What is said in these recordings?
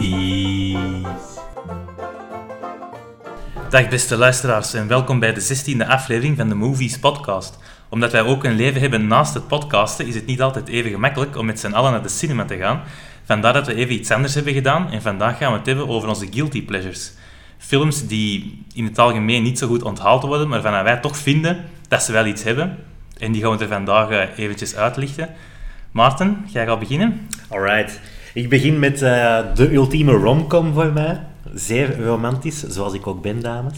Vies. Dag beste luisteraars en welkom bij de 16e aflevering van de Movies Podcast. Omdat wij ook een leven hebben naast het podcasten, is het niet altijd even gemakkelijk om met z'n allen naar de cinema te gaan. Vandaar dat we even iets anders hebben gedaan en vandaag gaan we het hebben over onze guilty pleasures. Films die in het algemeen niet zo goed onthaald worden, maar waarvan wij toch vinden dat ze wel iets hebben. En die gaan we er vandaag eh, eventjes uitlichten. Maarten, jij gaat beginnen. Alright. Ik begin met eh, de ultieme romcom voor mij. Zeer romantisch, zoals ik ook ben, dames.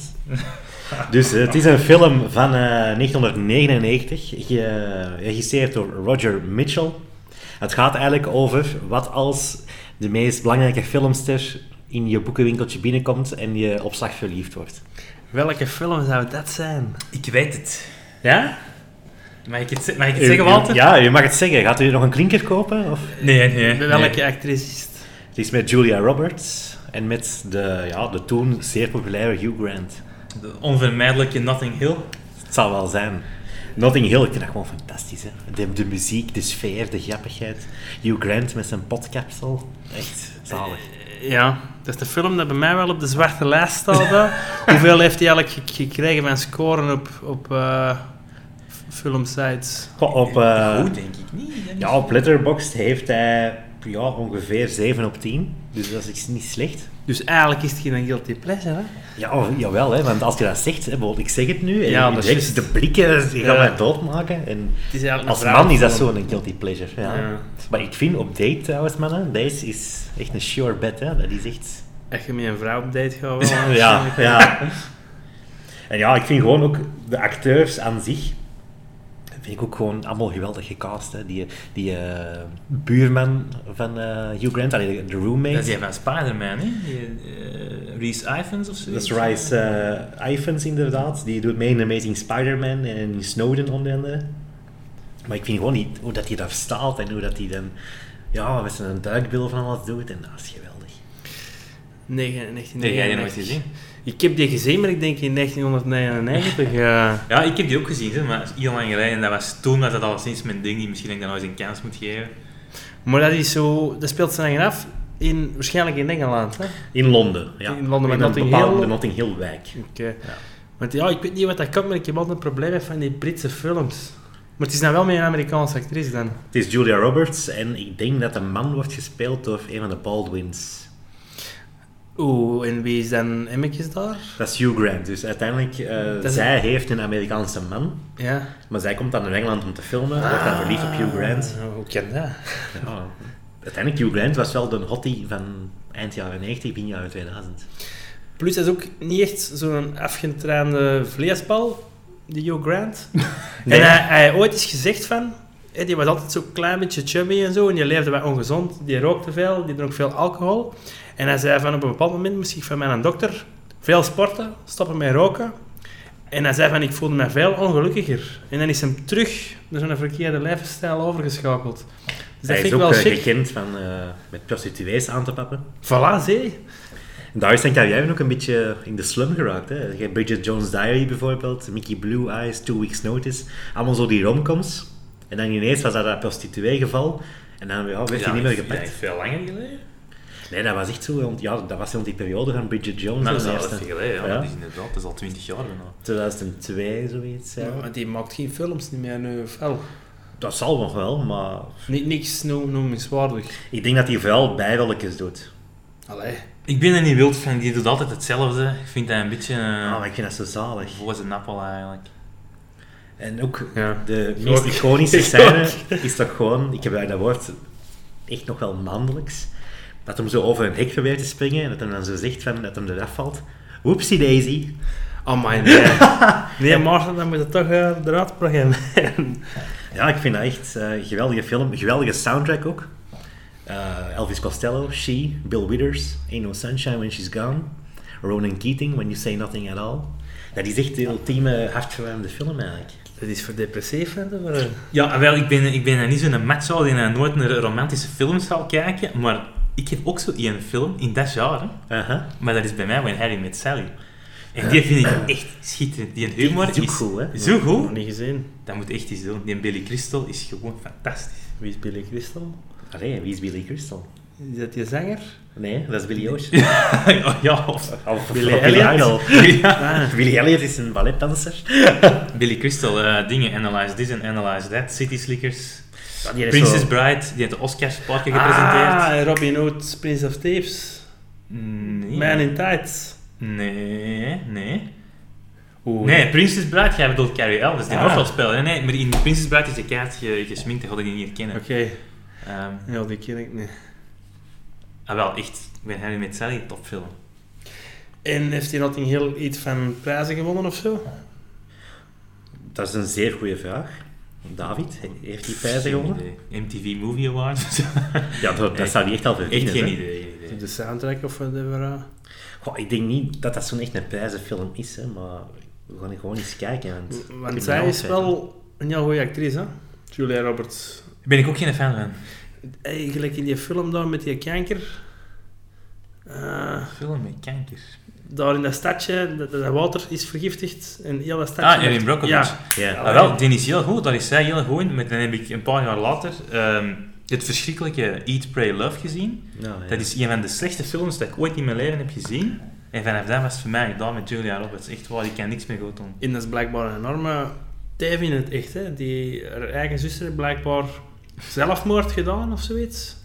Dus eh, het is een film van eh, 1999, geregisseerd door Roger Mitchell. Het gaat eigenlijk over wat als de meest belangrijke filmster in je boekenwinkeltje binnenkomt en je op slag verliefd wordt. Welke film zou dat zijn? Ik weet het. Ja? Mag ik het, ze- mag ik het zeggen, Walter? Ja, je mag het zeggen. Gaat u nog een klinker kopen? Of? Nee, nee. Bij nee. welke actrice is het? Het is met Julia Roberts en met de, ja, de toen zeer populaire Hugh Grant. De onvermijdelijke Nothing Hill. Het zal wel zijn. Notting Hill, ik vind dat gewoon fantastisch. Hè? De, de muziek, de sfeer, de grappigheid. Hugh Grant met zijn potkapsel. Echt zalig. Ja, dat is de film dat bij mij wel op de zwarte lijst staat. hè. Hoeveel heeft hij eigenlijk gek- gekregen van scoren op, op eh, f- filmsites? Goh, op, eh, Goed, denk ik niet. hè. ja, op Letterboxd heeft hij ja, ongeveer 7 op 10. Dus dat is niet slecht. Dus eigenlijk is het geen guilty pleasure, hè? Ja, oh, jawel, hè, want als je dat zegt, hè, bijvoorbeeld, ik zeg het nu, en Ja, je dat is denkt, juist. de blikken, die gaan Ja. mij doodmaken. En Het is eigenlijk als een vrouw- man is dat zo'n guilty pleasure. Ja. Ja. Maar ik vind op date trouwens, mannen, deze is echt een sure bet. Hè. Dat is echt... Als je met een vrouw op date gaat, wel. Ja, waarschijnlijk. ja. En ja, ik vind gewoon ook de acteurs aan zich. Vind ik ook gewoon allemaal geweldig gecast. Hè. Die, die eh, buurman van eh, Hugh Grant, allee, de- de roommate. Dat is die van Spider-Man, hè? Die, eh, Reese Ifans of zo. Dat is Rice eh Ifans inderdaad. Die doet mee in Amazing Spider-Man en in Snowden onder andere. Maar ik vind gewoon niet hoe dat hij daar staat en hoe dat hij dan ja, met zijn duikbril van alles doet. En dat is geweldig. Negen- 1999. Nee, jij hebt die nooit gezien. Ik heb die gezien, maar ik denk in 1999. eh, Ja, ik heb die ook gezien, hè, maar dat is heel lang geleden. En dat was toen dat dat al sinds mijn ding die misschien dat ik dat nog eens een kans moet geven. maar dat is zo... Dat speelt zijn eigen af. In, waarschijnlijk in Engeland, hè? In Londen. Ja. In Londen, maar een Notting bepaalde Hill. Notting Hill wijk. Oké. Want ja, ik weet niet wat dat komt, maar ik heb altijd een probleem met van die Britse films. Maar het is dan wel met een Amerikaanse actrice dan. Het is Julia Roberts en ik denk dat de man wordt gespeeld door een van de Baldwins. Oeh, en wie is dan Emmetjes daar? Dat is Hugh Grant. Dus uiteindelijk, eh, is- zij heeft een Amerikaanse man, Ja. maar zij komt dan naar Engeland om te filmen. Wordt dan verliefd op Hugh Grant. Oh, hoe kan dat? Oh. Ja. Uiteindelijk, Hugh Grant was wel de hottie van eind jaren 90, begin jaren 2000. Dus Plus, dat is ook niet echt zo'n afgetrainde vleesbal, die Hugh Grant. Nee. En hij, hij heeft ooit is gezegd van... hè, die was altijd zo klein beetje chummy en zo. En die leefde wat ongezond. Die rookte veel. Die dronk veel alcohol. En hij zei van op een bepaald moment, misschien van mijn dokter... Veel sporten, stoppen met roken. En hij zei van, ik voelde mij veel ongelukkiger. En dan is hem terug naar zo'n verkeerde levensstijl overgeschakeld. Dus dat Hij vind is ik ook wel eh, chic. gekend van eh, met prostituees aan te pappen. Voilà, zie. En daar is zijn carrière ook een beetje in de slum geraakt. Hè. Je hebt Bridget Jones' Diary bijvoorbeeld, Mickey Blue Eyes, Two Weeks Notice. Allemaal zo die romcoms. En dan ineens was dat dat prostituee-geval. En dan ja, werd hij niet meer Dat is gepakt. veel langer geleden. Nee, dat was echt zo. rond- ja, dat was rond die periode van Bridget Jones. Nou, Maar Nou, dat hè, is al de even eerste. geleden, ja. Ja. Dat is inderdaad, dat is al 20 jaar bijna. 2002, zoiets. Ja. Maar die maakt geen films niet meer nu, of wel? Dat zal nog wel, maar... Ni- niks noem- noemenswaardig. Ik denk dat hij vooral bijrolletjes doet. Allee. Ik ben er niet wild van, die doet altijd hetzelfde. Ik vind dat een beetje eh, Ah, maar ik vind dat zo zalig. voor zijn appel eigenlijk. En ook Ja. de Ik meest ook. iconische Ik scène is toch gewoon, ik heb dat woord echt nog wel maandelijks, dat hem zo over een hek probeert te springen en dat hem dan zo zegt van, dat hem eraf valt. Whoopsie daisy. Oh my nee. nee, Maarten, dan moet je toch eh, eruit programmeren. Ja, ik vind dat echt eh, een geweldige film, een geweldige soundtrack ook. Eh, Elvis Costello, She, Bill Withers, Ain't No Sunshine When She's Gone, Ronan Keating, When You Say Nothing At All. Dat is echt de ultieme hartverwarmende film eigenlijk. Dat is voor depressief, hè? Maar, Ja, wel, ik ben, ik ben er niet zo'n matzo die eh, nooit naar romantische films zal kijken, maar ik heb ook zo één film in dat jaar, hè. Aha. maar dat is bij mij When Harry Met Sally. En die vind ik echt schitterend. Die humor is ook goed, hè? Zo Nog goed. niet gezien. Dat moet echt iets doen. Die Billy Crystal is gewoon fantastisch. Wie is Billy Crystal? Allee, wie is Billy Crystal? Is dat die zanger? Nee, dat is Billy Ocean. Oh, ja, of Of Billy Billy Elliot. Idol. Ah, Billy Elliot is een balletdanser. Billy Crystal, eh, dingen, Analyze This en Analyze That, City Slickers, ja, die is Princess zo- Bride, die heeft de Oscars een paar keer gepresenteerd. Ah, Robin Hood, Prince of Thieves. Nee. Man in Tights. Nee, nee. Oeh, Nee, Princess Bride, jij bedoelt Carrie Elvis, die Ah. ah. spelen. Nee, nee, maar in Princess Bride is de kaart ge- gesminkt, dat hadden die niet herkennen. Oké, Ehm, ja, die ken ik niet. ah wel, echt, ik ben Harry met Sally, topfilm. En heeft hij Notting heel iets van prijzen gewonnen of zo? Dat is een zeer goede vraag. David, heeft hij prijzen Geen gewonnen? idee. MTV Movie Awards. Ja, dat, dat zou hij echt al verdienen. echt geen hè. idee, geen idee. De soundtrack of whatever. eh. Goh, ik denk niet dat dat zo'n echt een prijzenfilm is, hè, maar we gaan gewoon eens kijken. Want, ik ben Want zij wel is fan. wel een heel goede actrice, hè? Julia Roberts. Ben ik ook geen fan van. Eigenlijk in die film daar met die kanker. eh, Film met kanker. daar in dat stadje, dat, dat water is vergiftigd. En heel dat stadje... Ah, Erin Brockovich. Ja. Ja. Ah, wel, die is heel goed, daar is zij heel goed in. Maar dan heb ik een paar jaar later ehm, het verschrikkelijke Eat, Pray, Love gezien. Nou, ja. Dat is een van de slechtste films dat ik ooit in mijn leven heb gezien. En vanaf dan was het voor mij gedaan met Julia Roberts. Echt waar, ik kan niks meer goed doen. En dat is blijkbaar een enorme teef in het echt, hè. Die, haar eigen zuster heeft blijkbaar zelfmoord gedaan of zoiets.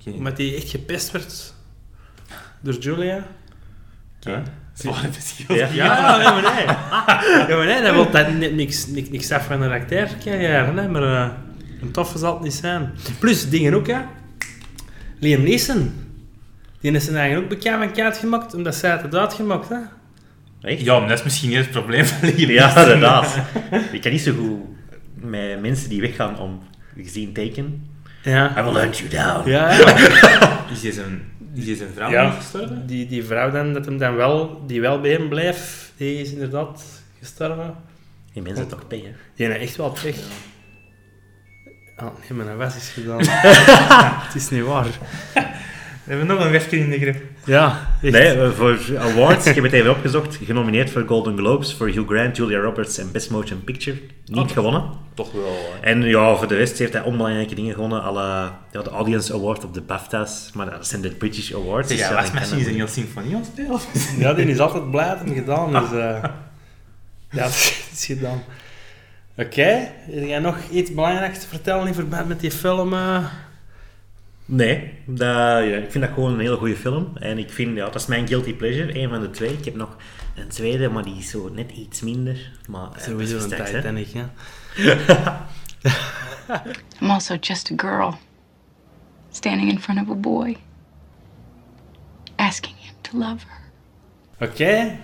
Oké. Omdat die echt gepest werd door Julia. Oké. Zware verschil. Ja. Ja, ja, maar nee. Ja, maar nee, dat wil dat ni- niks, niks, niks af van een acteur carrière, hè, maar eh, een toffe zal het niet zijn. Plus, dingen ook, hè. Liam Neeson. Die is zijn eigen ook bekend van kaart gemaakt, omdat zij het had uitgemaakt, hè. Echt? Ja, maar dat is misschien niet het probleem van Liam Ja, Neeson. inderdaad. ik kan niet zo goed met mensen die weggaan om gezien teken. I Ja. will hunt you down. Ja, ja. Is deze een, is deze een vrouw Ja. niet gestorven? Die, die vrouw dan, dat hem dan wel, die wel bij hem blijft, die is inderdaad gestorven. Die mensen toch pijn, hè? Die heeft echt wel pech. Oh, nee, mijn was is gedaan. het is niet waar. We hebben nog een wegje in de grip. Ja, echt. Nee, eh, voor awards, ik heb het even opgezocht, genomineerd voor Golden Globes, voor Hugh Grant, Julia Roberts en Best Motion Picture. Niet Oh. gewonnen. Toch wel, hè. En ja, voor de rest heeft hij onbelangrijke dingen gewonnen, à la, ja, de Audience Award op de BAFTA's, maar dat zijn de British Awards. Zeg, dus jij ja, was dan misschien kan eens een heel symfonie aan het spelen? of- Ja, die is altijd blij dat hem gedaan is. eh. ja, het is gedaan. Oké, heb jij nog iets belangrijks te vertellen in verband met die film? eh? Nee, dat, ja, ik vind dat gewoon een hele goede film. En ik vind, ja, dat is mijn guilty pleasure, één van de twee. Ik heb nog een tweede, maar die is zo net iets minder. Maar eh, dat is Sowieso een straks, hè. Titanic, hè? I'm also just a girl standing in front of a boy, asking him to love her. Oké,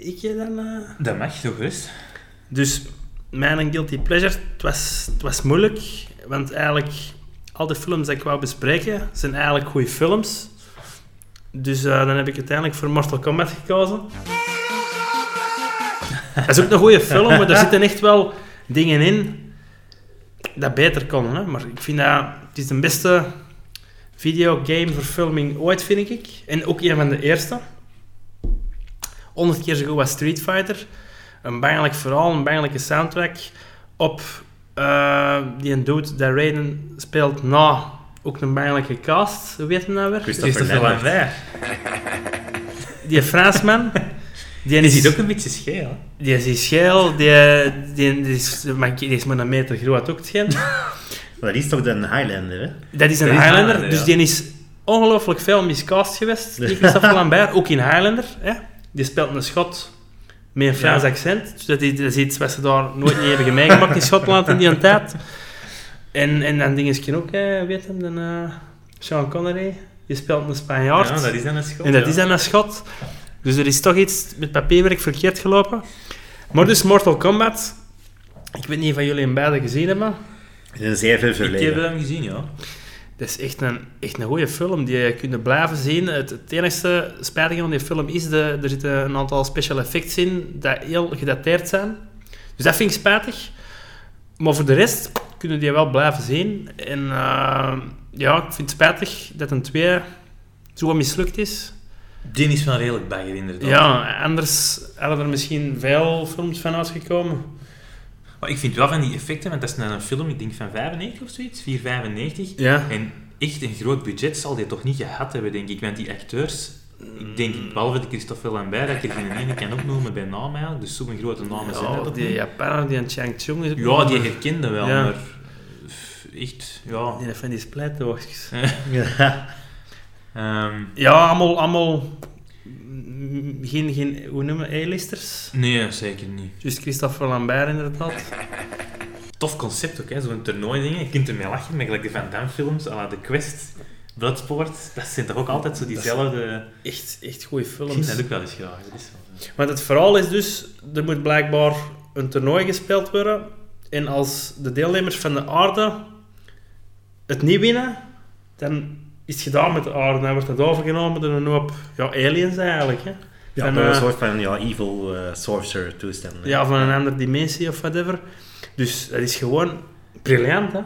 ik je dan... eh? Dat mag, toch gerust. Dus mijn guilty pleasure, het was, het was moeilijk, want eigenlijk al de films die ik wou bespreken zijn eigenlijk goede films. Dus eh, dan heb ik uiteindelijk voor Mortal Kombat gekozen. Dat is ook een goede film, maar er zitten echt wel dingen in dat beter kon. Hè? Maar ik vind dat het is de beste videogameverfilming ooit, vind ik. En ook een van de eerste. 100 keer zo goed als Street Fighter een bangelijk verhaal, een bangelijke soundtrack op eh, die een dude dat Raiden speelt na ook een bangelijke cast. Hoe weet je dat weer? Christopher Christopher Lambert. Lambert. Die Fransman. Die Die is, ziet ook een beetje scheel, hè. die is scheel, die, die, die is, maar die is maar een meter groot ook hetgeen. Maar dat is toch de Highlander, hè? Dat is een Dat is een Highlander, Highlander, dus ja. die is ongelooflijk veel miscast geweest. Die Christophe Lambert, ook in Highlander. Hè? Die speelt een Schot met een Frans Ja. accent. Dus dat is, dat is iets wat ze daar nooit niet hebben meegemaakt in Schotland in die tijd. En, en dan dingetje ook, hè, weet hem, dan, eh, Sean Connery. Die speelt een Spanjaard. Ja, dat is dan een schot. en dat ja. is dan een Schot. Dus er is toch iets met papierwerk verkeerd gelopen. Maar dus Mortal Kombat. Ik weet niet of jullie hem beide gezien hebben. In een zeer veel Ik heb verleden. hem gezien, ja. Dat is echt een, echt een goede film die je kunt blijven zien. Het, het enige spijtige van die film is de, er zitten een aantal special effects in dat heel gedateerd zijn. Dus dat vind ik spijtig. Maar voor de rest kunnen die wel blijven zien. En eh, ja, ik vind het spijtig dat een 2 zo mislukt is. Die is wel redelijk bagger, inderdaad. Ja, anders hadden er misschien veel films van uitgekomen. Maar ik vind wel van die effecten, want dat is nou een film, ik denk van 95 of zoiets, 4,95. Ja. En echt een groot budget zal die toch niet gehad hebben, denk ik. Want die acteurs, ik denk, Mm. behalve de Christophe Lambert, dat ik er geen ene kan opnoemen bij naam eigenlijk. Dus zo'n grote namen zijn dat Ja, ook die niet. Japaner, die aan Chang Chung is ook Ja, nog- die herkende wel, Ja. maar pff, echt, ja. Die van die splijtdochters. Ehm, Ja, allemaal... allemaal mm, geen, geen, hoe noemen we, A-listers? nee, zeker niet. Dus Christophe Lambert inderdaad. Tof concept ook, hè? zo'n toernooi-ding. Je kunt ermee lachen, maar gelijk de Van Damme-films, à la The Quest, Bloodsport, dat zijn toch ook altijd zo diezelfde... Echt, echt goede Ik films. zie dat ook wel eens graag. Dat is wel- Want het verhaal is dus, er moet blijkbaar een toernooi gespeeld worden. En als de deelnemers van de aarde het niet winnen, dan is het gedaan met de aarde. Dan wordt het overgenomen door een hoop ja, aliens eigenlijk. Hè. Ja, Van, door een eh, soort van ja, evil eh, sorcerer toestanden. ja, van een andere dimensie of whatever. Dus dat is gewoon briljant. Hè.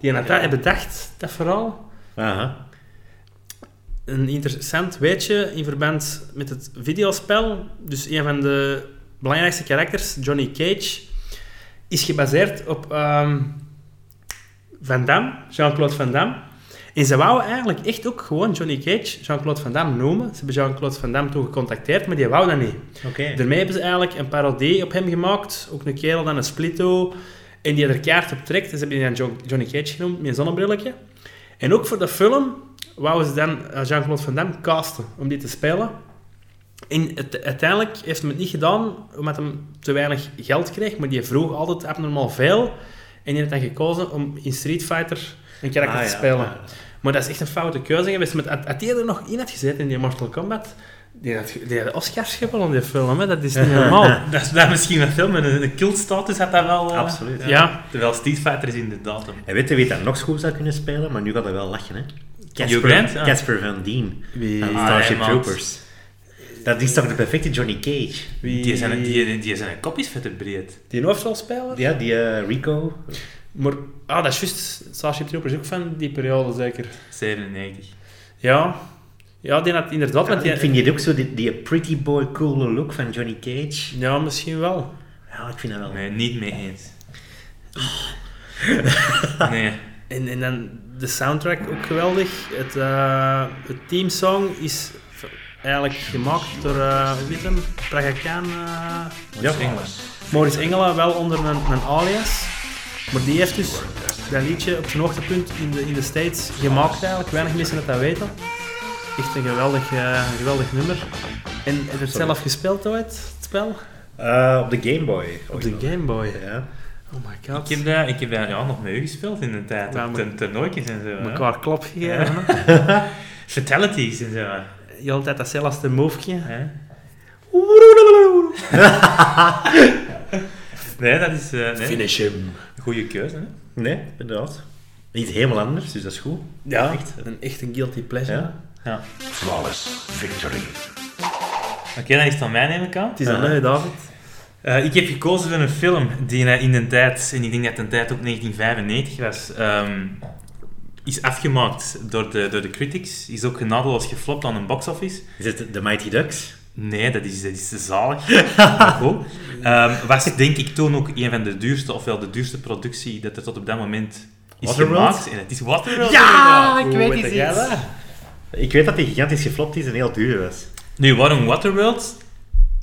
Die had dat bedacht, dat verhaal. Aha. een interessant weetje in verband met het videospel. Dus een van de belangrijkste karakters, Johnny Cage, is gebaseerd op ehm, Van Damme, Jean-Claude Van Damme. En ze wouden eigenlijk echt ook gewoon Johnny Cage Jean-Claude Van Damme noemen. Ze hebben Jean-Claude Van Damme toen gecontacteerd, maar die wou dat niet. Oké. Daarmee hebben ze eigenlijk een parodie op hem gemaakt. Ook een kerel dan een splitto. En die er kaart op trekt. Dus ze hebben die dan Jo- Johnny Cage genoemd, met een zonnebrilletje. En ook voor de film wouden ze dan eh, Jean-Claude Van Damme casten om die te spelen. En het- uiteindelijk heeft hem het niet gedaan, omdat hij te weinig geld kreeg. Maar die vroeg altijd abnormaal veel. En die heeft dan gekozen om in Street Fighter een karakter Ah, te ja. spelen. Maar dat is echt een foute keuze geweest. Met, had, had die er nog in had gezeten in die Mortal Kombat, die had, die had Oscars gewonnen, die film. Hè? Dat is niet normaal. Dat is daar misschien wel veel, maar een een cultstatus had dat wel... eh, Absoluut. Ja. Terwijl Street Fighter is in de datum. En weet je wie dat nog goed zou kunnen spelen? Maar nu gaat hij wel lachen, hè? Hugh Grant, ja. Casper Van Dien. Ah. Wie- Van Ah, Starship ja, man. Troopers. Dat is toch de perfecte Johnny Cage? Die zijn, die, die zijn kop is vetter breed. Die hoofdrolspeler? Ja, die eh, Rico. Maar, ah, dat is juist. Starship Troopers is ook van die periode, zeker. 97. Ja. Ja, die had inderdaad... want die- ik vind je ook zo, die, die pretty boy coole look van Johnny Cage. Ja, misschien wel. Ja, ik vind dat wel. Nee, niet mee eens. Nee. En, en dan de soundtrack ook geweldig. Het, eh het teamsong is eigenlijk gemaakt door, eh hoe heet hem? Pragakhan... eh, Ja, Engels. Maurice Engela wel onder een, een alias. Maar die heeft dus dat liedje op zijn hoogtepunt in de, in de States gemaakt eigenlijk. Weinig mensen dat dat weten. Echt een geweldig, eh, een geweldig nummer. En heb je het zelf gespeeld ooit, het spel? Eh, op de Game Boy. Op de Game Boy. Ja. Oh my god. Ik heb dat, ik heb dat ja, nog met u gespeeld in de tijd. Ja, op maar- ten- toernooitjes en zo. hè. elkaar klap gegeven. hè. Fatalities en zo. Je had altijd datzelfde moveje. hè. Nee, dat is... eh, nee. him. Goeie keuze, hè. Nee, inderdaad. Iets helemaal anders, dus dat is goed. Ja, echt een, echt een guilty pleasure. Ja. Ja. Flawless victory. Oké, dan is het aan mij, neem ik aan. Het is een lui, David. Eh, ik heb gekozen voor een film die eh, in de tijd, en ik denk dat de tijd ook 1995 was, ehm, is afgemaakt door de, door de critics. Is ook genadeloos geflopt aan een box-office. Is het de Mighty Ducks? Nee, dat is, dat is te zalig. Maar goed. Ehm, was denk ik toen ook een van de duurste, ofwel de duurste productie dat er tot op dat moment is Waterworld? gemaakt. En het is Waterworld. Ja, Hoe Ah, weet jij dat? Ik weet dat die gigantisch geflopt is en heel duur was. Nu, waarom Waterworld?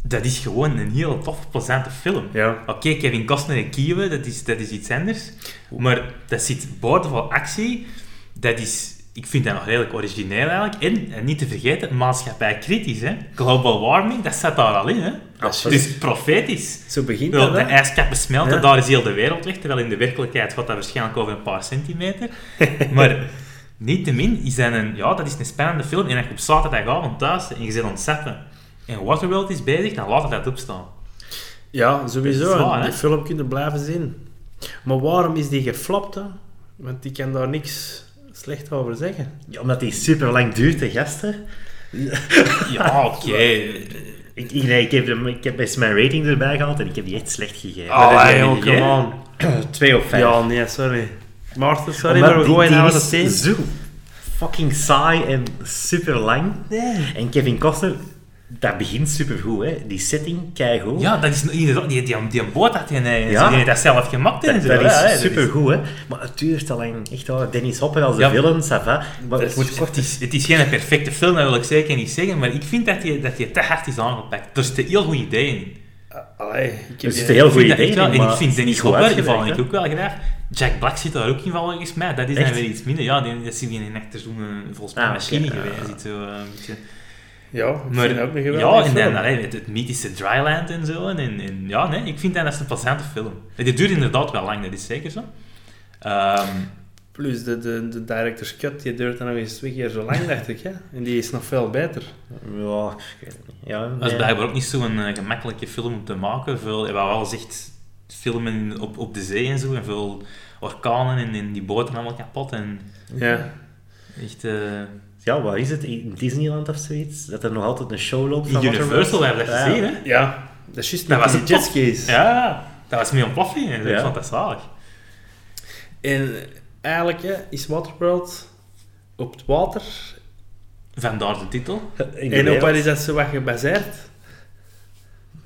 Dat is gewoon een heel tof, plezante film. Ja. Oké, Kevin Costner en Kiewe, dat is, dat is iets anders. Maar dat zit boordevol actie. Dat is... Ik vind dat nog redelijk origineel eigenlijk. En, en niet te vergeten, maatschappij kritisch. Hè? Global warming, dat staat daar al in. Hè? Absoluut. Dus profetisch. Zo begint Wel, dat, de hè? ijskappen smelten, Ja. daar is heel de wereld weg. Terwijl in de werkelijkheid gaat dat waarschijnlijk over een paar centimeter. maar niettemin is dat een, ja, dat is een spannende film. En als je op zaterdagavond thuis zit en je zit aan het zappen en Waterworld is bezig, dan laat het dat opstaan. Ja, Dat sowieso. is waar, hè? die film kunnen blijven zien. Maar waarom is die geflopt, hè? Want die kan daar niks slecht over zeggen. Ja, omdat die super lang duurt, de gasten. Ja, oké. Ik, ik, nee, ik, heb hem, ik heb eens mijn rating erbij gehaald en ik heb die echt slecht gegeven. Ah, Dat ja, heb jij joh, niet gegeven? come on. Twee op vijf. Oh, Ja, nee, sorry. Maarten, sorry, Omdat maar we die- gooien die nou is het thee. Zo fucking saai en super lang. Nee. En Kevin Costner dat begint supergoed, hè. Die setting, keigoed. Ja, dat is inderdaad... Die, die, die boot dat hij heeft, Ja. die heeft dat zelf gemaakt en Dat, zo. dat ja, hè, is supergoed, hè. Maar het duurt al lang. Echt waar. Dennis Hopper als de Ja. villain, ça va. Maar dat het is- moet kort... het, is, het is geen perfecte film, dat wil ik zeker niet zeggen, maar ik vind dat je dat je te hard is aangepakt. Er zitten heel goede ideeën in. Allee, ik Het heb is die- een heel Ik vind goed dat idee, echt wel- En ik vind Dennis Hopper, die val ik ook. ook wel graag. Jack Black zit daar ook in, volgens mij. Dat is dan Echt? weer iets minder. Ja, die, dat is in een actor doen, eh, volgens mij Ah, machine oké, ja. geweest. iets zo, eh, een beetje. Ja, ik Maar, vind dat ook een ja, geweldige en film. dan allee, het, het mythische Dryland en zo. En, en, en ja, nee, ik vind dat, dat is een plezante film. En Die duurt inderdaad wel lang, dat is zeker zo. Ehm, Plus de, de, de director's cut, die duurt dan nog eens twee keer zo lang, dacht ik. Hè? En die is nog veel beter. Ja, ik weet het niet. ja, Dat is nee. blijkbaar ook niet zo'n eh, gemakkelijke film om te maken. Veel, we hebben wel echt filmen op, op de zee en zo. En veel orkanen en, en die boten allemaal kapot. En Ja. echt... eh, Ja, waar is het? In Disneyland of zoiets? Dat er nog altijd een show loopt in van Universal Waterworld? hebben we dat Ja. gezien, hè? Ja, dat is juist Dat met was die een jetskis. Ja, dat was mee ontploffing. En zo. Ja. Ik vond dat zalig. En eigenlijk hè, is Waterworld op het water. Vandaar de titel. In de en op wereld. waar is dat zo wat gebaseerd?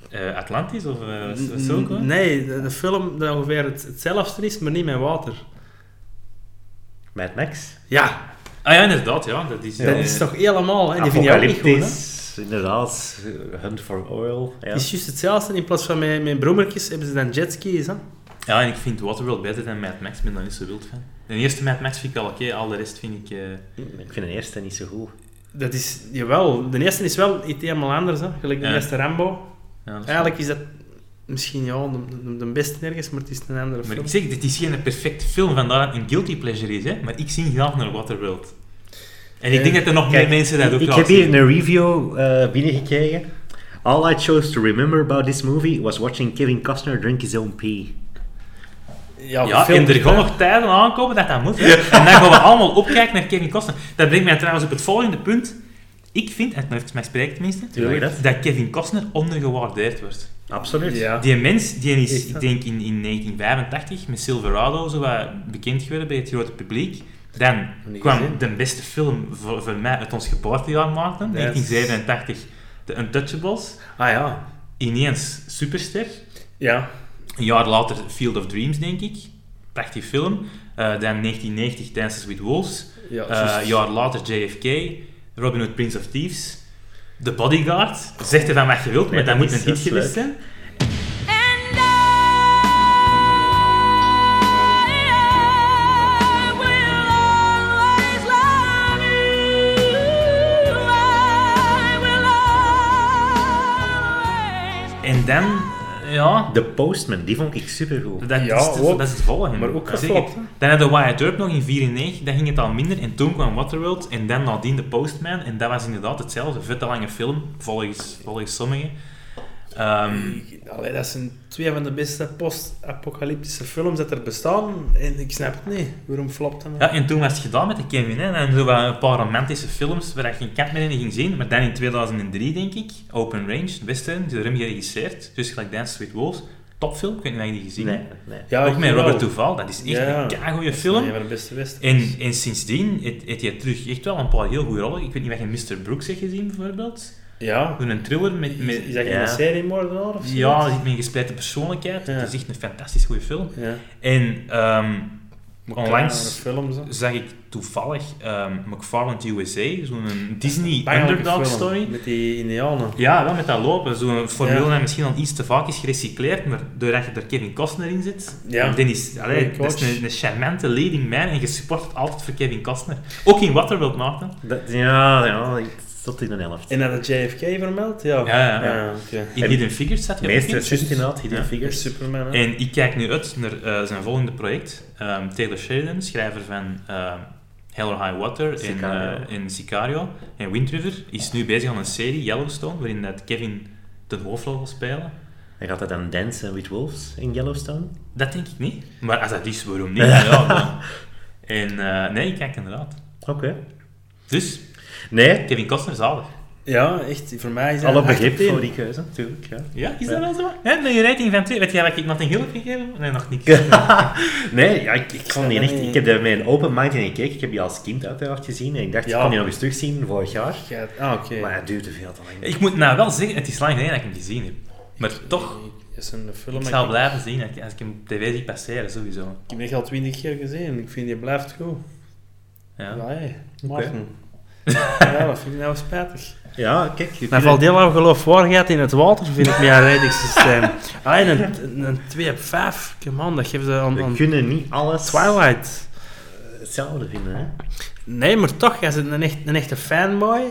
Eh, Atlantis of eh, wat is- wat is N- het ook, hoor? Nee, de, de film dat ongeveer het, hetzelfde is, maar niet met water. Mad Max. Ja, Ah ja, inderdaad. Ja, dat is... dat eh, is toch helemaal, hè? Die vind je ook niet goed, hè? Het Apocalyptisch. Inderdaad. Hunt for Oil. Ja. is juist hetzelfde. In plaats van mijn, mijn broemertjes hebben ze dan jetskis, hè? Ja, en ik vind Waterworld beter dan Mad Max. Ik ben daar niet zo wild van. De eerste Mad Max vind ik al oké. al de rest vind ik... eh, Ik vind de eerste niet zo goed. Dat is, jawel, de eerste is wel iets helemaal anders, hè? Gelijk de Ja. eerste Rambo. ja, dat is- Eigenlijk is dat misschien ja, de, de, de beste nergens, maar het is een andere Maar film. ik zeg, dit is geen perfecte film, vandaar dat het een guilty pleasure is, hè? maar ik zie graag naar Waterworld. En ik Eh, denk dat er nog meer mensen dat ook ik graag heb zien. hier een review eh, binnengekregen. All I chose to remember about this movie was watching Kevin Costner drink his own pee. Ja, film- en er gaan nog tijden aankomen dat dat moet. hè. En dan gaan we allemaal opkijken naar Kevin Costner. Dat brengt mij trouwens op het volgende punt. Ik vind, en het mij spreekt tenminste, Tuurlijk. dat? Kevin Costner ondergewaardeerd wordt. Absoluut. Ja. Die mens die is, Echt, hè? ik denk in, in 1985, met Silverado zo wat bekend geworden bij het grote publiek. Dan niet kwam gezien. de beste film voor, voor mij uit ons geboortejaar maken, Ja, 1987, The Untouchables. Ah ja. Ineens Superster. Ja. Een jaar later Field of Dreams, denk ik. Prachtig film. Eh, dan 1990 Dances with Wolves. Ja, Eh, juist. een jaar later JFK. Robin Hood Prince of Thieves. The Bodyguard. Zeg er van wat je wilt, Nee, maar dat dat moet is- een dat hit is geweest leuk. zijn. And I will always love you. I will always. En dan, eh, ja, The Postman, die vond ik supergoed. dat, Ja, is, het- ook. dat is het volgende. Maar ook Ja, zeker. geflopt, hè? Dan hadden Wyatt Earp nog in 94, dan ging het al minder. En toen kwam Waterworld en dan nadien The Postman. En dat was inderdaad hetzelfde. Vette lange film, volgens, volgens sommigen. Ehm, Allee, dat zijn twee van de beste post-apocalyptische films dat er bestaan. En ik snap het niet. Waarom flopt dat? nou? Ja, en toen was het gedaan met de Kevin. Hè. En zo wat een paar romantische films waar ik geen kat meer in ging zien. Maar dan in 2003, denk ik, Open Range, western, door hem geregisseerd. Dus gelijk Dance with Wolves. Topfilm, ik weet niet of je die gezien Nee, hebt. nee. Ja, Ook ik met wel. Robert Duval, dat is echt Ja. een keigoede Dat is film. Een van de beste westerns. En, en sindsdien heeft- heeft hij terug echt wel een paar heel goede rollen. Ik weet niet wat je Mr. Brooks hebt gezien, bijvoorbeeld. Ja. Toen een thriller met... Is, met is dat ja. geen seriemoordenaar of zo? ja, er zit met een gespleten persoonlijkheid. Ja. Het is echt een fantastisch goede film. ja. En ehm, onlangs... Kleinere films. hè. zag ik toevallig ehm McFarland USA, zo'n Disney Pijnlijke underdog film story. Met die indianen. Ja, wel met dat lopen. Zo'n formule Ja. dat misschien al iets te vaak is gerecycleerd, maar doordat je er Kevin Costner in zit, Ja. en Dennis, allee, Goeie dat is coach. een, een charmante leading man en je support het altijd voor Kevin Costner. Ook in Waterworld, Maarten. Dat, ja, ja, ik- tot in de helft. En dat de JFK vermeld? Ja. Ja, ja, ja. oké. In En- Hidden Figures zat je ook Meester in. Just inderdaad, Hidden Ja. Figures. Superman. hè. En ik kijk nu uit naar eh, zijn volgende project. Ehm, Taylor Sheridan, schrijver van ehm Hell or High Water en, Sicario. eh, en Sicario en Wind River, is nu bezig aan een serie, Yellowstone, waarin dat Kevin de hoofdrol wil spelen. En gaat dat dan dansen with wolves in Yellowstone? Dat denk ik niet. Maar als dat is, waarom niet? ja, dan- En eh, nee, ik kijk inderdaad. Oké. Dus, Nee, Kevin Costner, zalig. Ja, echt, voor mij is dat Alle een acht op begrip tien. voor die keuze, natuurlijk. Ja. Ja, is dat wel zo? Ja, met je rating van 2. Weet jij wat ik Notting Hill heb gegeven? Nee, nog niks. nee, ja, ik, ik kon die echt... Nee. Ik heb er met een open mind in gekeken. Ik heb die als kind uiteraard gezien. En ik dacht, Ja. ik kon die nog eens terugzien vorig jaar. Ja, ah, oké. Maar het duurde veel te lang. Ik moet nou wel zeggen, het is lang geleden dat ik hem gezien heb. Maar toch, Dat is een film. ik maar zal ik- blijven zien als ik- als ik hem op tv zie passeren, sowieso. Ik heb die al twintig keer gezien. Ik vind die blijft goed. Ja, Ja. hé. Martin. ja, dat vind ik nou spijtig. Ja, kijk. je Mijn kunt- valt heel aan geloofwaardigheid in het water, vind ik, met haar redingssysteem. Ah, en een, een, een 2 op 5. Come on, dat geeft ze aan, aan We kunnen niet alles Twilight. hetzelfde vinden, hè. Nee, maar toch, jij bent een, echt, een echte fanboy.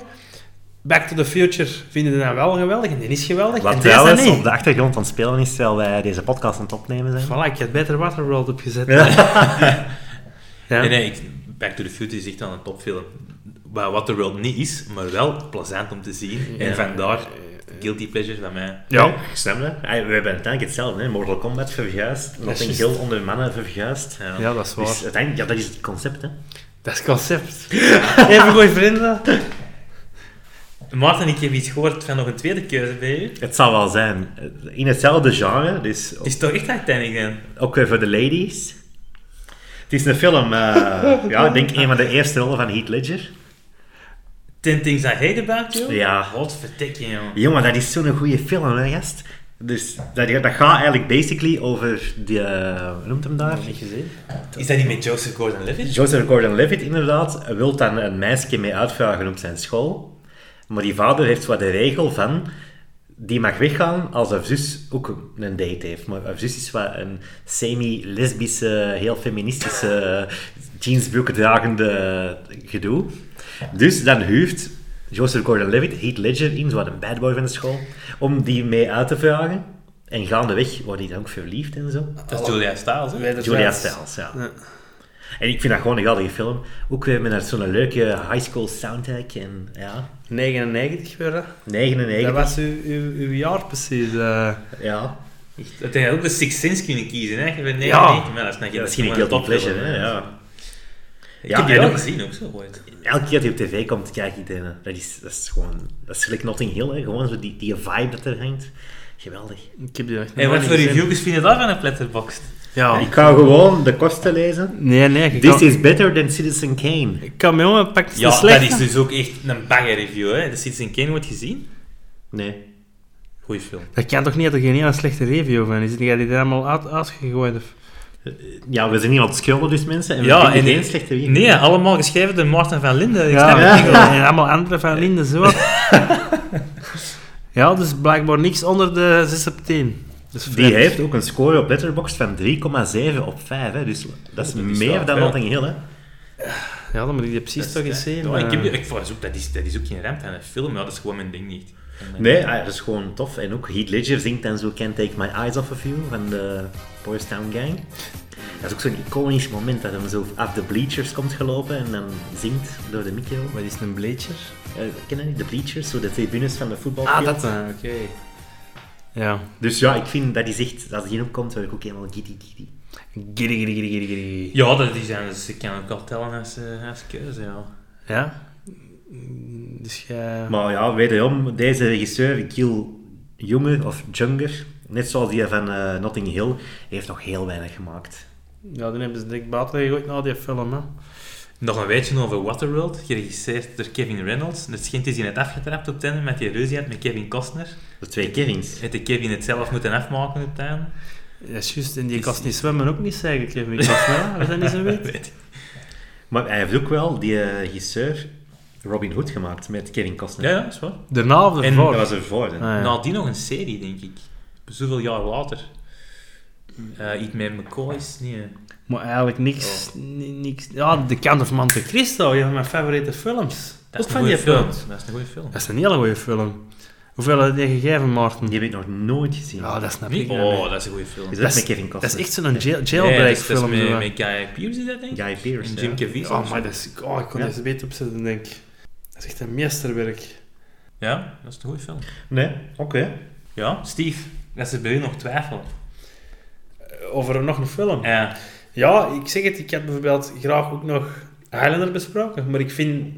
Back to the Future vinden ze dan wel geweldig en die is geweldig. en Wat deze trouwens niet. op de achtergrond van het spelen is, terwijl wij deze podcast aan het opnemen zijn. Voilà, ik had beter Waterworld opgezet. Ja. Nee, nee, ik, Back to the Future is echt wel een topfilm. Wat Waterworld niet is, maar wel plezant om te zien. En vandaar Guilty Pleasure van mij. Ja. Ik snap dat. Ah, We hebben uiteindelijk hetzelfde, hè. Mortal Kombat verguist, Notting juist. Hill onder mannen verguist. Ja. Ja, dat is waar. Dus uiteindelijk, ja, dat is het concept, hè. Dat is concept. Even goeie vrienden. Maarten, ik heb iets gehoord van nog een tweede keuze bij u. Het zal wel zijn. Eh, In hetzelfde genre, dus Het is toch echt Titanic dan? ook weer voor de ladies. Het is een film, eh, ja, ik denk een van de eerste rollen van Heath Ledger. Ten Things I Hate About You? Ja. Godverdikke, joh. Jongen, dat is zo'n goede film, hè, gast. Dus dat, dat gaat eigenlijk basically over die, eh, hoe noemt hem daar? gezien. Is dat niet met Joseph Gordon-Levitt? Joseph Gordon-Levitt inderdaad wil dan een meisje mee uitvragen op zijn school. Maar die vader heeft wat de regel van... Die mag weggaan als haar zus ook een date heeft. Maar haar zus is wat een semi-lesbische, heel feministische, jeansbroeken dragende gedoe. Dus dan huurt Joseph Gordon-Levitt Heath Ledger in, zo wat een bad boy van de school, om die mee uit te vragen. En gaandeweg wordt hij dan ook verliefd en zo. Dat is Julia Stiles, hè? Julia Stiles, ja. Ja. En ik vind dat gewoon een geweldige film. Ook weer met zo'n leuke high school soundtrack. En, ja, 99 weer, hè. 99. Dat was uw, uw, uw jaar precies. eh. Ja. Dat hij ook de Six Sense kunnen kiezen, hè? Nee, Ja. nee, maar dat is, Ja, misschien een guilty pleasure. Hè? Ja. Ik Ja, heb die en wel ook- gezien, ook zo ooit. Elke keer dat hij op tv komt, kijk ik daarna. eh, Dat is, dat is gewoon... Dat is gelijk Notting Hill, hè. Gewoon zo die, die vibe dat er hangt. Geweldig. Ik heb die echt En nog wat niet voor gezien. reviewers vind je daar van een letterbox? Ja. Ik ga gewoon de kosten lezen. Nee, nee. Ik This kan, is better than Citizen Kane. ik kan me jongen, pak het Ja, te slecht. dat is dus ook echt een banger review, hè? De Citizen Kane wordt gezien. Nee. Goeie film. Dat kan toch niet dat er geen hele slechte review van is? Die jij die er allemaal uit, uitgegooid of... Ja, we zijn hier aan het scrollen dus, mensen. En we Ja, vinden en- geen slechte review. Nee, allemaal geschreven door Maarten van Linden. Ik Ja, snap het niet, hoor. en allemaal andere van Linde zo. ja, dus blijkbaar niks onder de 6 op 10. Dus Die vreemd. heeft ook een score op Letterboxd van 3,7 op 5. Hè. Dus dat is meer wel dan veel. Notting Hill. Hè. Ja, dan moet ik die precies toch eens zien. Ja, ik heb die- eh. ik vond ook, dat is, dat is ook geen ramp aan een film, ja, dat is gewoon mijn ding niet. En, Nee, ah, dat is gewoon tof. En ook Heath Ledger zingt dan zo Can't Take My Eyes Off Of You van de Boys Town Gang. Dat is ook zo'n iconisch moment dat hem zo af de bleachers komt gelopen en dan zingt door de micro. Wat is een bleacher? Eh, ken je niet? De bleachers, zo de tribunes van de voetbalfield. Ah, dat... eh, Oké. Ja. Dus ja, ik vind dat is echt, als die opkomt, word ik ook helemaal giddy giddy. Giddy, giddy, giddy, giddy, giddy. Ja, dat is anders. Ik kan ook al tellen als, eh, als keuze, ja. Ja? Mm, Dus jij... Maar ja, wederom, deze regisseur, Gil Junger of Junger, net zoals die van eh, Notting Hill, heeft nog heel weinig gemaakt. Ja, dan hebben ze direct buiten gegooid na die film, hè. Nog een weetje over Waterworld, geregisseerd door Kevin Reynolds. Het schijnt is hij net afgetrapt op het einde met die ruzie had met Kevin Costner. De twee Kevins. Heeft de Kevin het zelf moeten afmaken op het einde? Ja, is juist. En die kast niet zwemmen ook niet, zeg ik even. Ik was nou, we zijn niet zo weet. Weet ik. Maar hij heeft ook wel die eh, regisseur Robin Hood gemaakt met Kevin Costner. Ja, ja, dat is waar. Daarna of En ervoor? Dat was ervoor. Hè. Ah, ja. Nadien nog een serie, denk ik. Zoveel jaar later. Eh, iets met McCoy's, nee. hè. Maar eigenlijk Oh. niks, ni- niks... Ja, The Count of Monte Cristo, een van mijn favoriete films. Dat is ook een van goeie die film. film. Dat is een goede film. Dat is een hele goede film. Hoeveel heb je gegeven, Maarten? Die heb ik nog nooit gezien. Ja, dat snap Niet? ik. Oh, dat is een goede film. is Ja, dat dat is- met Kevin Dat is Costner? echt zo'n jail, dat jailbreak is- dat is film. eh? met, zo. met Guy Pearce, is dat denk ik? Guy Pearce. En ja. Jim Caviezel. Oh, maar dat is... Oh, ik kon Ja. deze beter opzetten, denk ik. Dat is echt een meesterwerk. Ja, dat is een goede film. Nee, oké. Ja, Steve. Dat is bij u nog twijfel. Over nog een film. Ja. Ja, ik zeg het, ik had bijvoorbeeld graag ook nog Highlander besproken, maar ik vind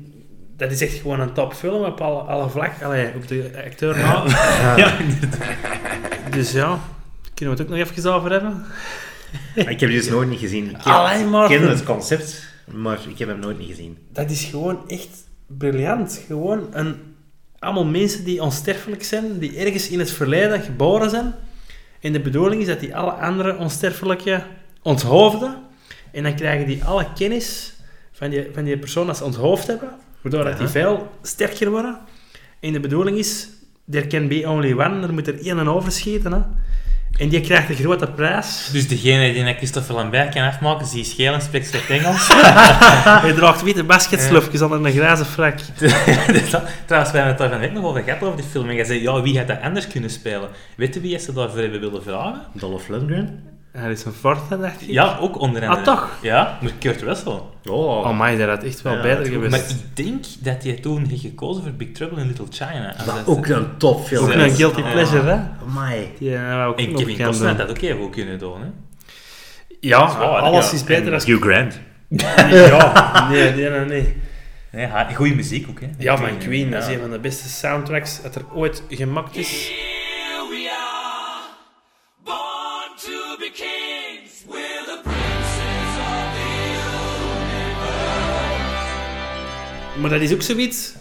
dat is echt gewoon een topfilm op alle, alle vlakken. Allee, op de acteur na. Ja, inderdaad. Dus ja, kunnen we het ook nog even over hebben? Ik heb die dus nooit niet gezien. Ik ken, Allee, maar- ik ken het concept, maar ik heb hem nooit niet gezien. Dat is gewoon echt briljant. Gewoon een, allemaal mensen die onsterfelijk zijn, die ergens in het verleden geboren zijn. En de bedoeling is dat die alle andere onsterfelijke onthoofden. En dan krijgen die alle kennis van die, van die persoon dat ze onthoofd hebben. Waardoor dat die Ja. veel sterker worden. En de bedoeling is, there can be only one. Er moet er één overschieten. Hè. En die krijgt een grote prijs. Dus degene die naar Christopher Lambert kan afmaken, is die is geel en spreekt slecht Engels. Hij draagt witte basketslufjes onder een grijze frak. Dus dat- Trouwens, wij hebben het daar van de week nog over gehad over die film. En jij zei, ja, wie had dat anders kunnen spelen? Weet je wie ze daarvoor hebben willen vragen? Dolph Lundgren? Er is een fort, dacht ik. Ja, ook onder andere. Ah, toch? Ja, maar Kurt Russell. Oh, Oh my, dat had echt wel Ja, beter dat is goed. geweest. Maar ik denk dat hij toen heeft gekozen voor Big Trouble in Little China. Als dat dat- ook een topfilm. Oh ook Ja, een dat- guilty ja. pleasure, hè? Amai. Ja, ook En nog Kevin bekend Costner had doen. dat ook even goed kunnen doen. Hè? Ja, is waar, hè? Ah, alles Ja. is beter als... Hugh Grant. Ja, nee, nee, nee, nee. Nee, ha- goeie muziek ook. Hè? Ja, van Queen, dat is een van de beste soundtracks dat er ooit gemaakt is. Here we are, born to be kings. We're the princes of the Maar dat is ook zoiets...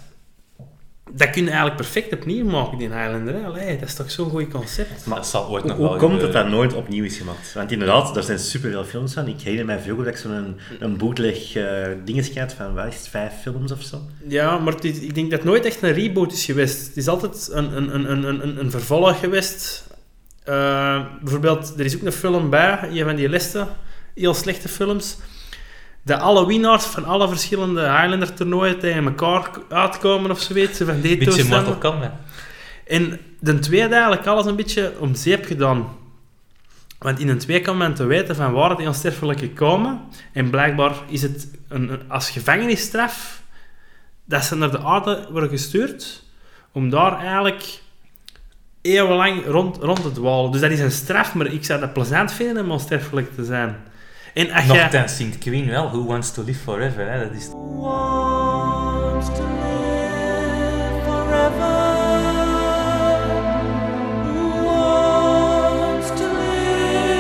Dat kun je eigenlijk perfect opnieuw maken, die Highlander. Hè? Allee, dat is toch zo'n goed concept? Maar dat zal ooit Hoe, nog wel eh, hoe komt het gebeuren. dat nooit opnieuw is gemaakt? Want inderdaad, er zijn superveel films van. Ik herinner mij vroeger dat ik zo'n een, een bootleg eh dingetje had van wat is het, vijf films of zo. Ja, maar het is- ik denk dat het nooit echt een reboot is geweest. Het is altijd een, een, een, een, een- een, een vervolg geweest. Eh, bijvoorbeeld, er is ook een film bij, een van die lessen, heel slechte films, dat alle winnaars van alle verschillende Highlander-toernooien tegen elkaar k- uitkomen of zoiets. Van die Beetje toestanden. Mortal Kombat. En de tweede eigenlijk alles een beetje om zeep gedaan. Want in een twee kan men te weten van waar die onsterfelijke komen. En blijkbaar is het een, een- als gevangenisstraf dat ze naar de aarde worden gestuurd om daar eigenlijk eeuwenlang rond, rond te dwalen. Dus dat is een straf, maar ik zou dat plezant vinden om onsterfelijk te zijn. En als Nog je... ten zingt Queen wel, Who Wants to Live Forever. Hè? Dat is wants to live forever. Who wants to live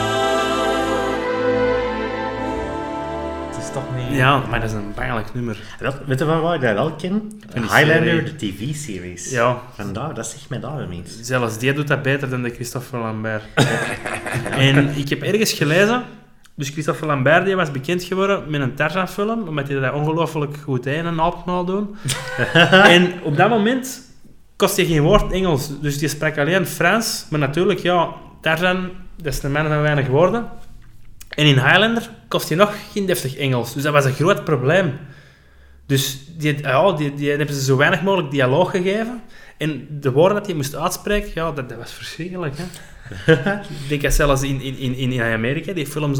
forever? het is toch niet... Ja, maar dat is een bangelijk nummer. Dat, weet je van waar ik dat wel ken? Van die Highlander, serie. de tv-series. Ja. Vandaar, dat zegt mij daarom iets. Zelfs die doet dat beter dan de Christophe Lambert. en ik heb ergens gelezen... Dus Christophe Lambert die was bekend geworden met een Tarzan-film, omdat hij dat ongelooflijk goed deed in een alpenhaal doen. en op dat moment kost hij geen woord Engels, dus die sprak alleen Frans. Maar natuurlijk, ja, Tarzan, dat is een man van weinig woorden. En in Highlander kost hij nog geen deftig Engels, dus dat was een groot probleem. Dus die, ja, die, die hebben ze zo weinig mogelijk dialoog gegeven. En de woorden dat hij moest uitspreken, ja, dat, dat was verschrikkelijk. Hè? ik denk dat zelfs in, in, in, in Amerika die films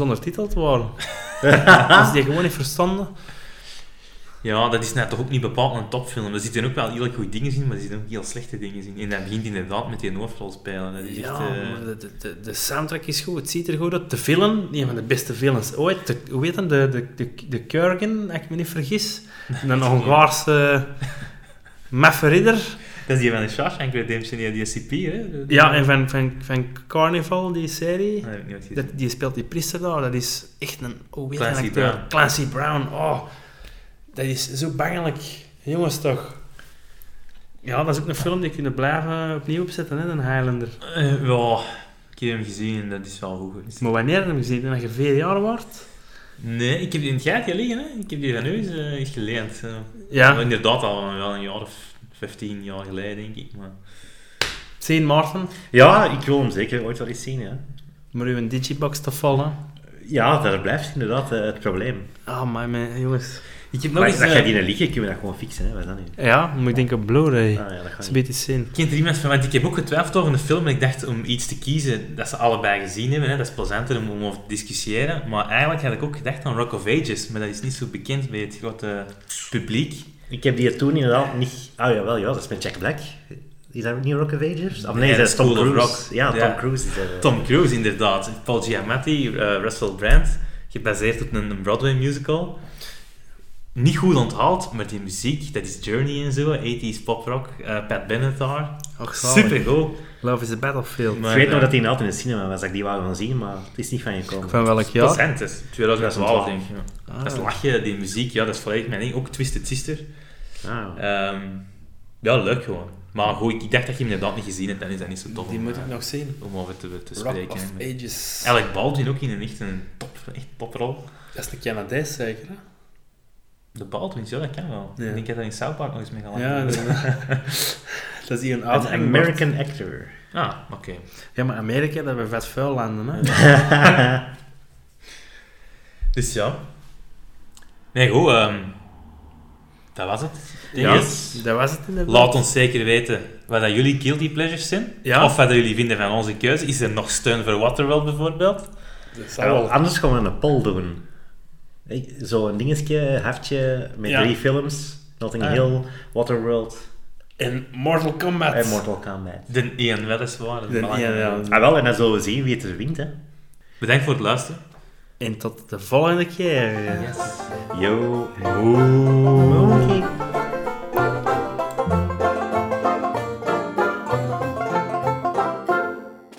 ondertiteld waren. dat ze die gewoon niet verstonden. Ja, dat is net toch ook niet bepaald een topfilm. Er zitten ook wel heel goede dingen in, maar er zitten ook heel slechte dingen in. En dat begint inderdaad met die hoofdrolspeler. Dat is echt... Ja, eh, maar de, de- de, de soundtrack is goed, het ziet er goed uit. De film, een van de beste films ooit. De, hoe heet dat? De, de, de, de Kurgan, als ik me niet vergis. Een Hongaarse mafferidder. Dat is die van de Shawshank Redemption, die DCP, hè? Ja, en van, van, van Carnival, die serie. Nee, dat heb ik niet gezien. Dat, die speelt die priester daar, dat is echt een... Oh, weet je, Clancy een acteur. Brown. Clancy Brown, oh. Dat is zo bangelijk. Jongens, toch. Ja, dat is ook een film die kunnen blijven opnieuw opzetten, hè, een Highlander. Eh, ja, ik heb hem gezien en dat is wel goed geweest. Maar wanneer heb je hem gezien? Als je vier jaar wordt? Nee, ik heb die in het gaatje liggen, hè. Ik heb die van u eens, eh, eens geleend. eh. Maar Ja. inderdaad, al wel een jaar of 15 jaar geleden, denk ik. Maar... St. Maarten, Ja, ik wil hem zeker ooit wel eens zien, ja. maar uw digibox te vallen. Ja, daar blijft inderdaad eh, het probleem. Ah, my man, jongens. eh, Ik heb nog Maar eens... dat eh, gaat die liggen, kunnen we dat gewoon fixen, hè. Wat is dat nu? Ja, moet ik denken op Blu-ray. Ah, ja, dat Dat gaat is niet. een beetje zin. Kent er iemand van, want ik heb ook getwijfeld over een film en ik dacht om iets te kiezen dat ze allebei gezien hebben. Hè. Dat is plezanter om, om over te discussiëren. Maar eigenlijk had ik ook gedacht aan Rock of Ages, maar dat is niet zo bekend bij het grote publiek. Ik heb die toen inderdaad niet... Ah ja, wel, ja, dat is met Jack Black. Is dat ook niet Rock of Ages? Of nee, Nee, dat is Tom School of Cruise. Rock. Ja, Tom Ja. Cruise is dat. eh. Tom Cruise, inderdaad. Paul Giamatti, eh, Russell Brand, gebaseerd op een Broadway musical. niet goed onthaald, maar die muziek, dat is Journey en zo, 80s poprock, eh Pat Bennett daar. Och, zalig. Super goed. Love is a Battlefield. Maar- eh, Ik weet nog dat die altijd in de cinema was, dat ik die wou gaan zien, maar het is niet van gekomen. Van welk Dat jaar? is het is 2012 denk ik. ja. Ah. Dat is lachen, die muziek, ja, dat is volledig mijn ding. Ook Twisted Sister. Ah. Ehm, ja, leuk gewoon. Maar goed, ik dacht dat je hem inderdaad niet gezien hebt, dan is dat niet zo tof Die om, moet eh, ik nog zien. om over te, te Rock spreken. of hè. Ages. Alec Baldwin ook in een echt een top, echt toprol. Dat is een Canadees zeker, hè? De Baldwins, ja, dat kan wel. Ja. Ik denk dat hij in South Park nog eens mee gaat Ja, dat, lachen. dat is hier een Een oud American actor. Ah, oké. Ja, maar Amerika, dat we vet vuil landen, hè? Dus ja. Nee, goed. ehm, dat was het. Ja, Yes. dat was het inderdaad. Laat ons zeker weten wat dat jullie guilty pleasures zijn. Ja. Of wat dat jullie vinden van onze keuze. Is er nog steun voor Waterworld bijvoorbeeld? Dat zal Zou wel. wel anders gewoon een poll doen. Ik- Zo'n dingetje, hartje, met Ja. drie films. Notting Ah. Hill, Waterworld En Mortal Kombat. en Mortal Kombat. De één, weliswaar. dat is De belangrijk. één, ja. Ah wel, en dan zullen we zien wie het er wint, hè. Bedankt voor het luisteren. En tot de volgende keer. Yo. Oeh.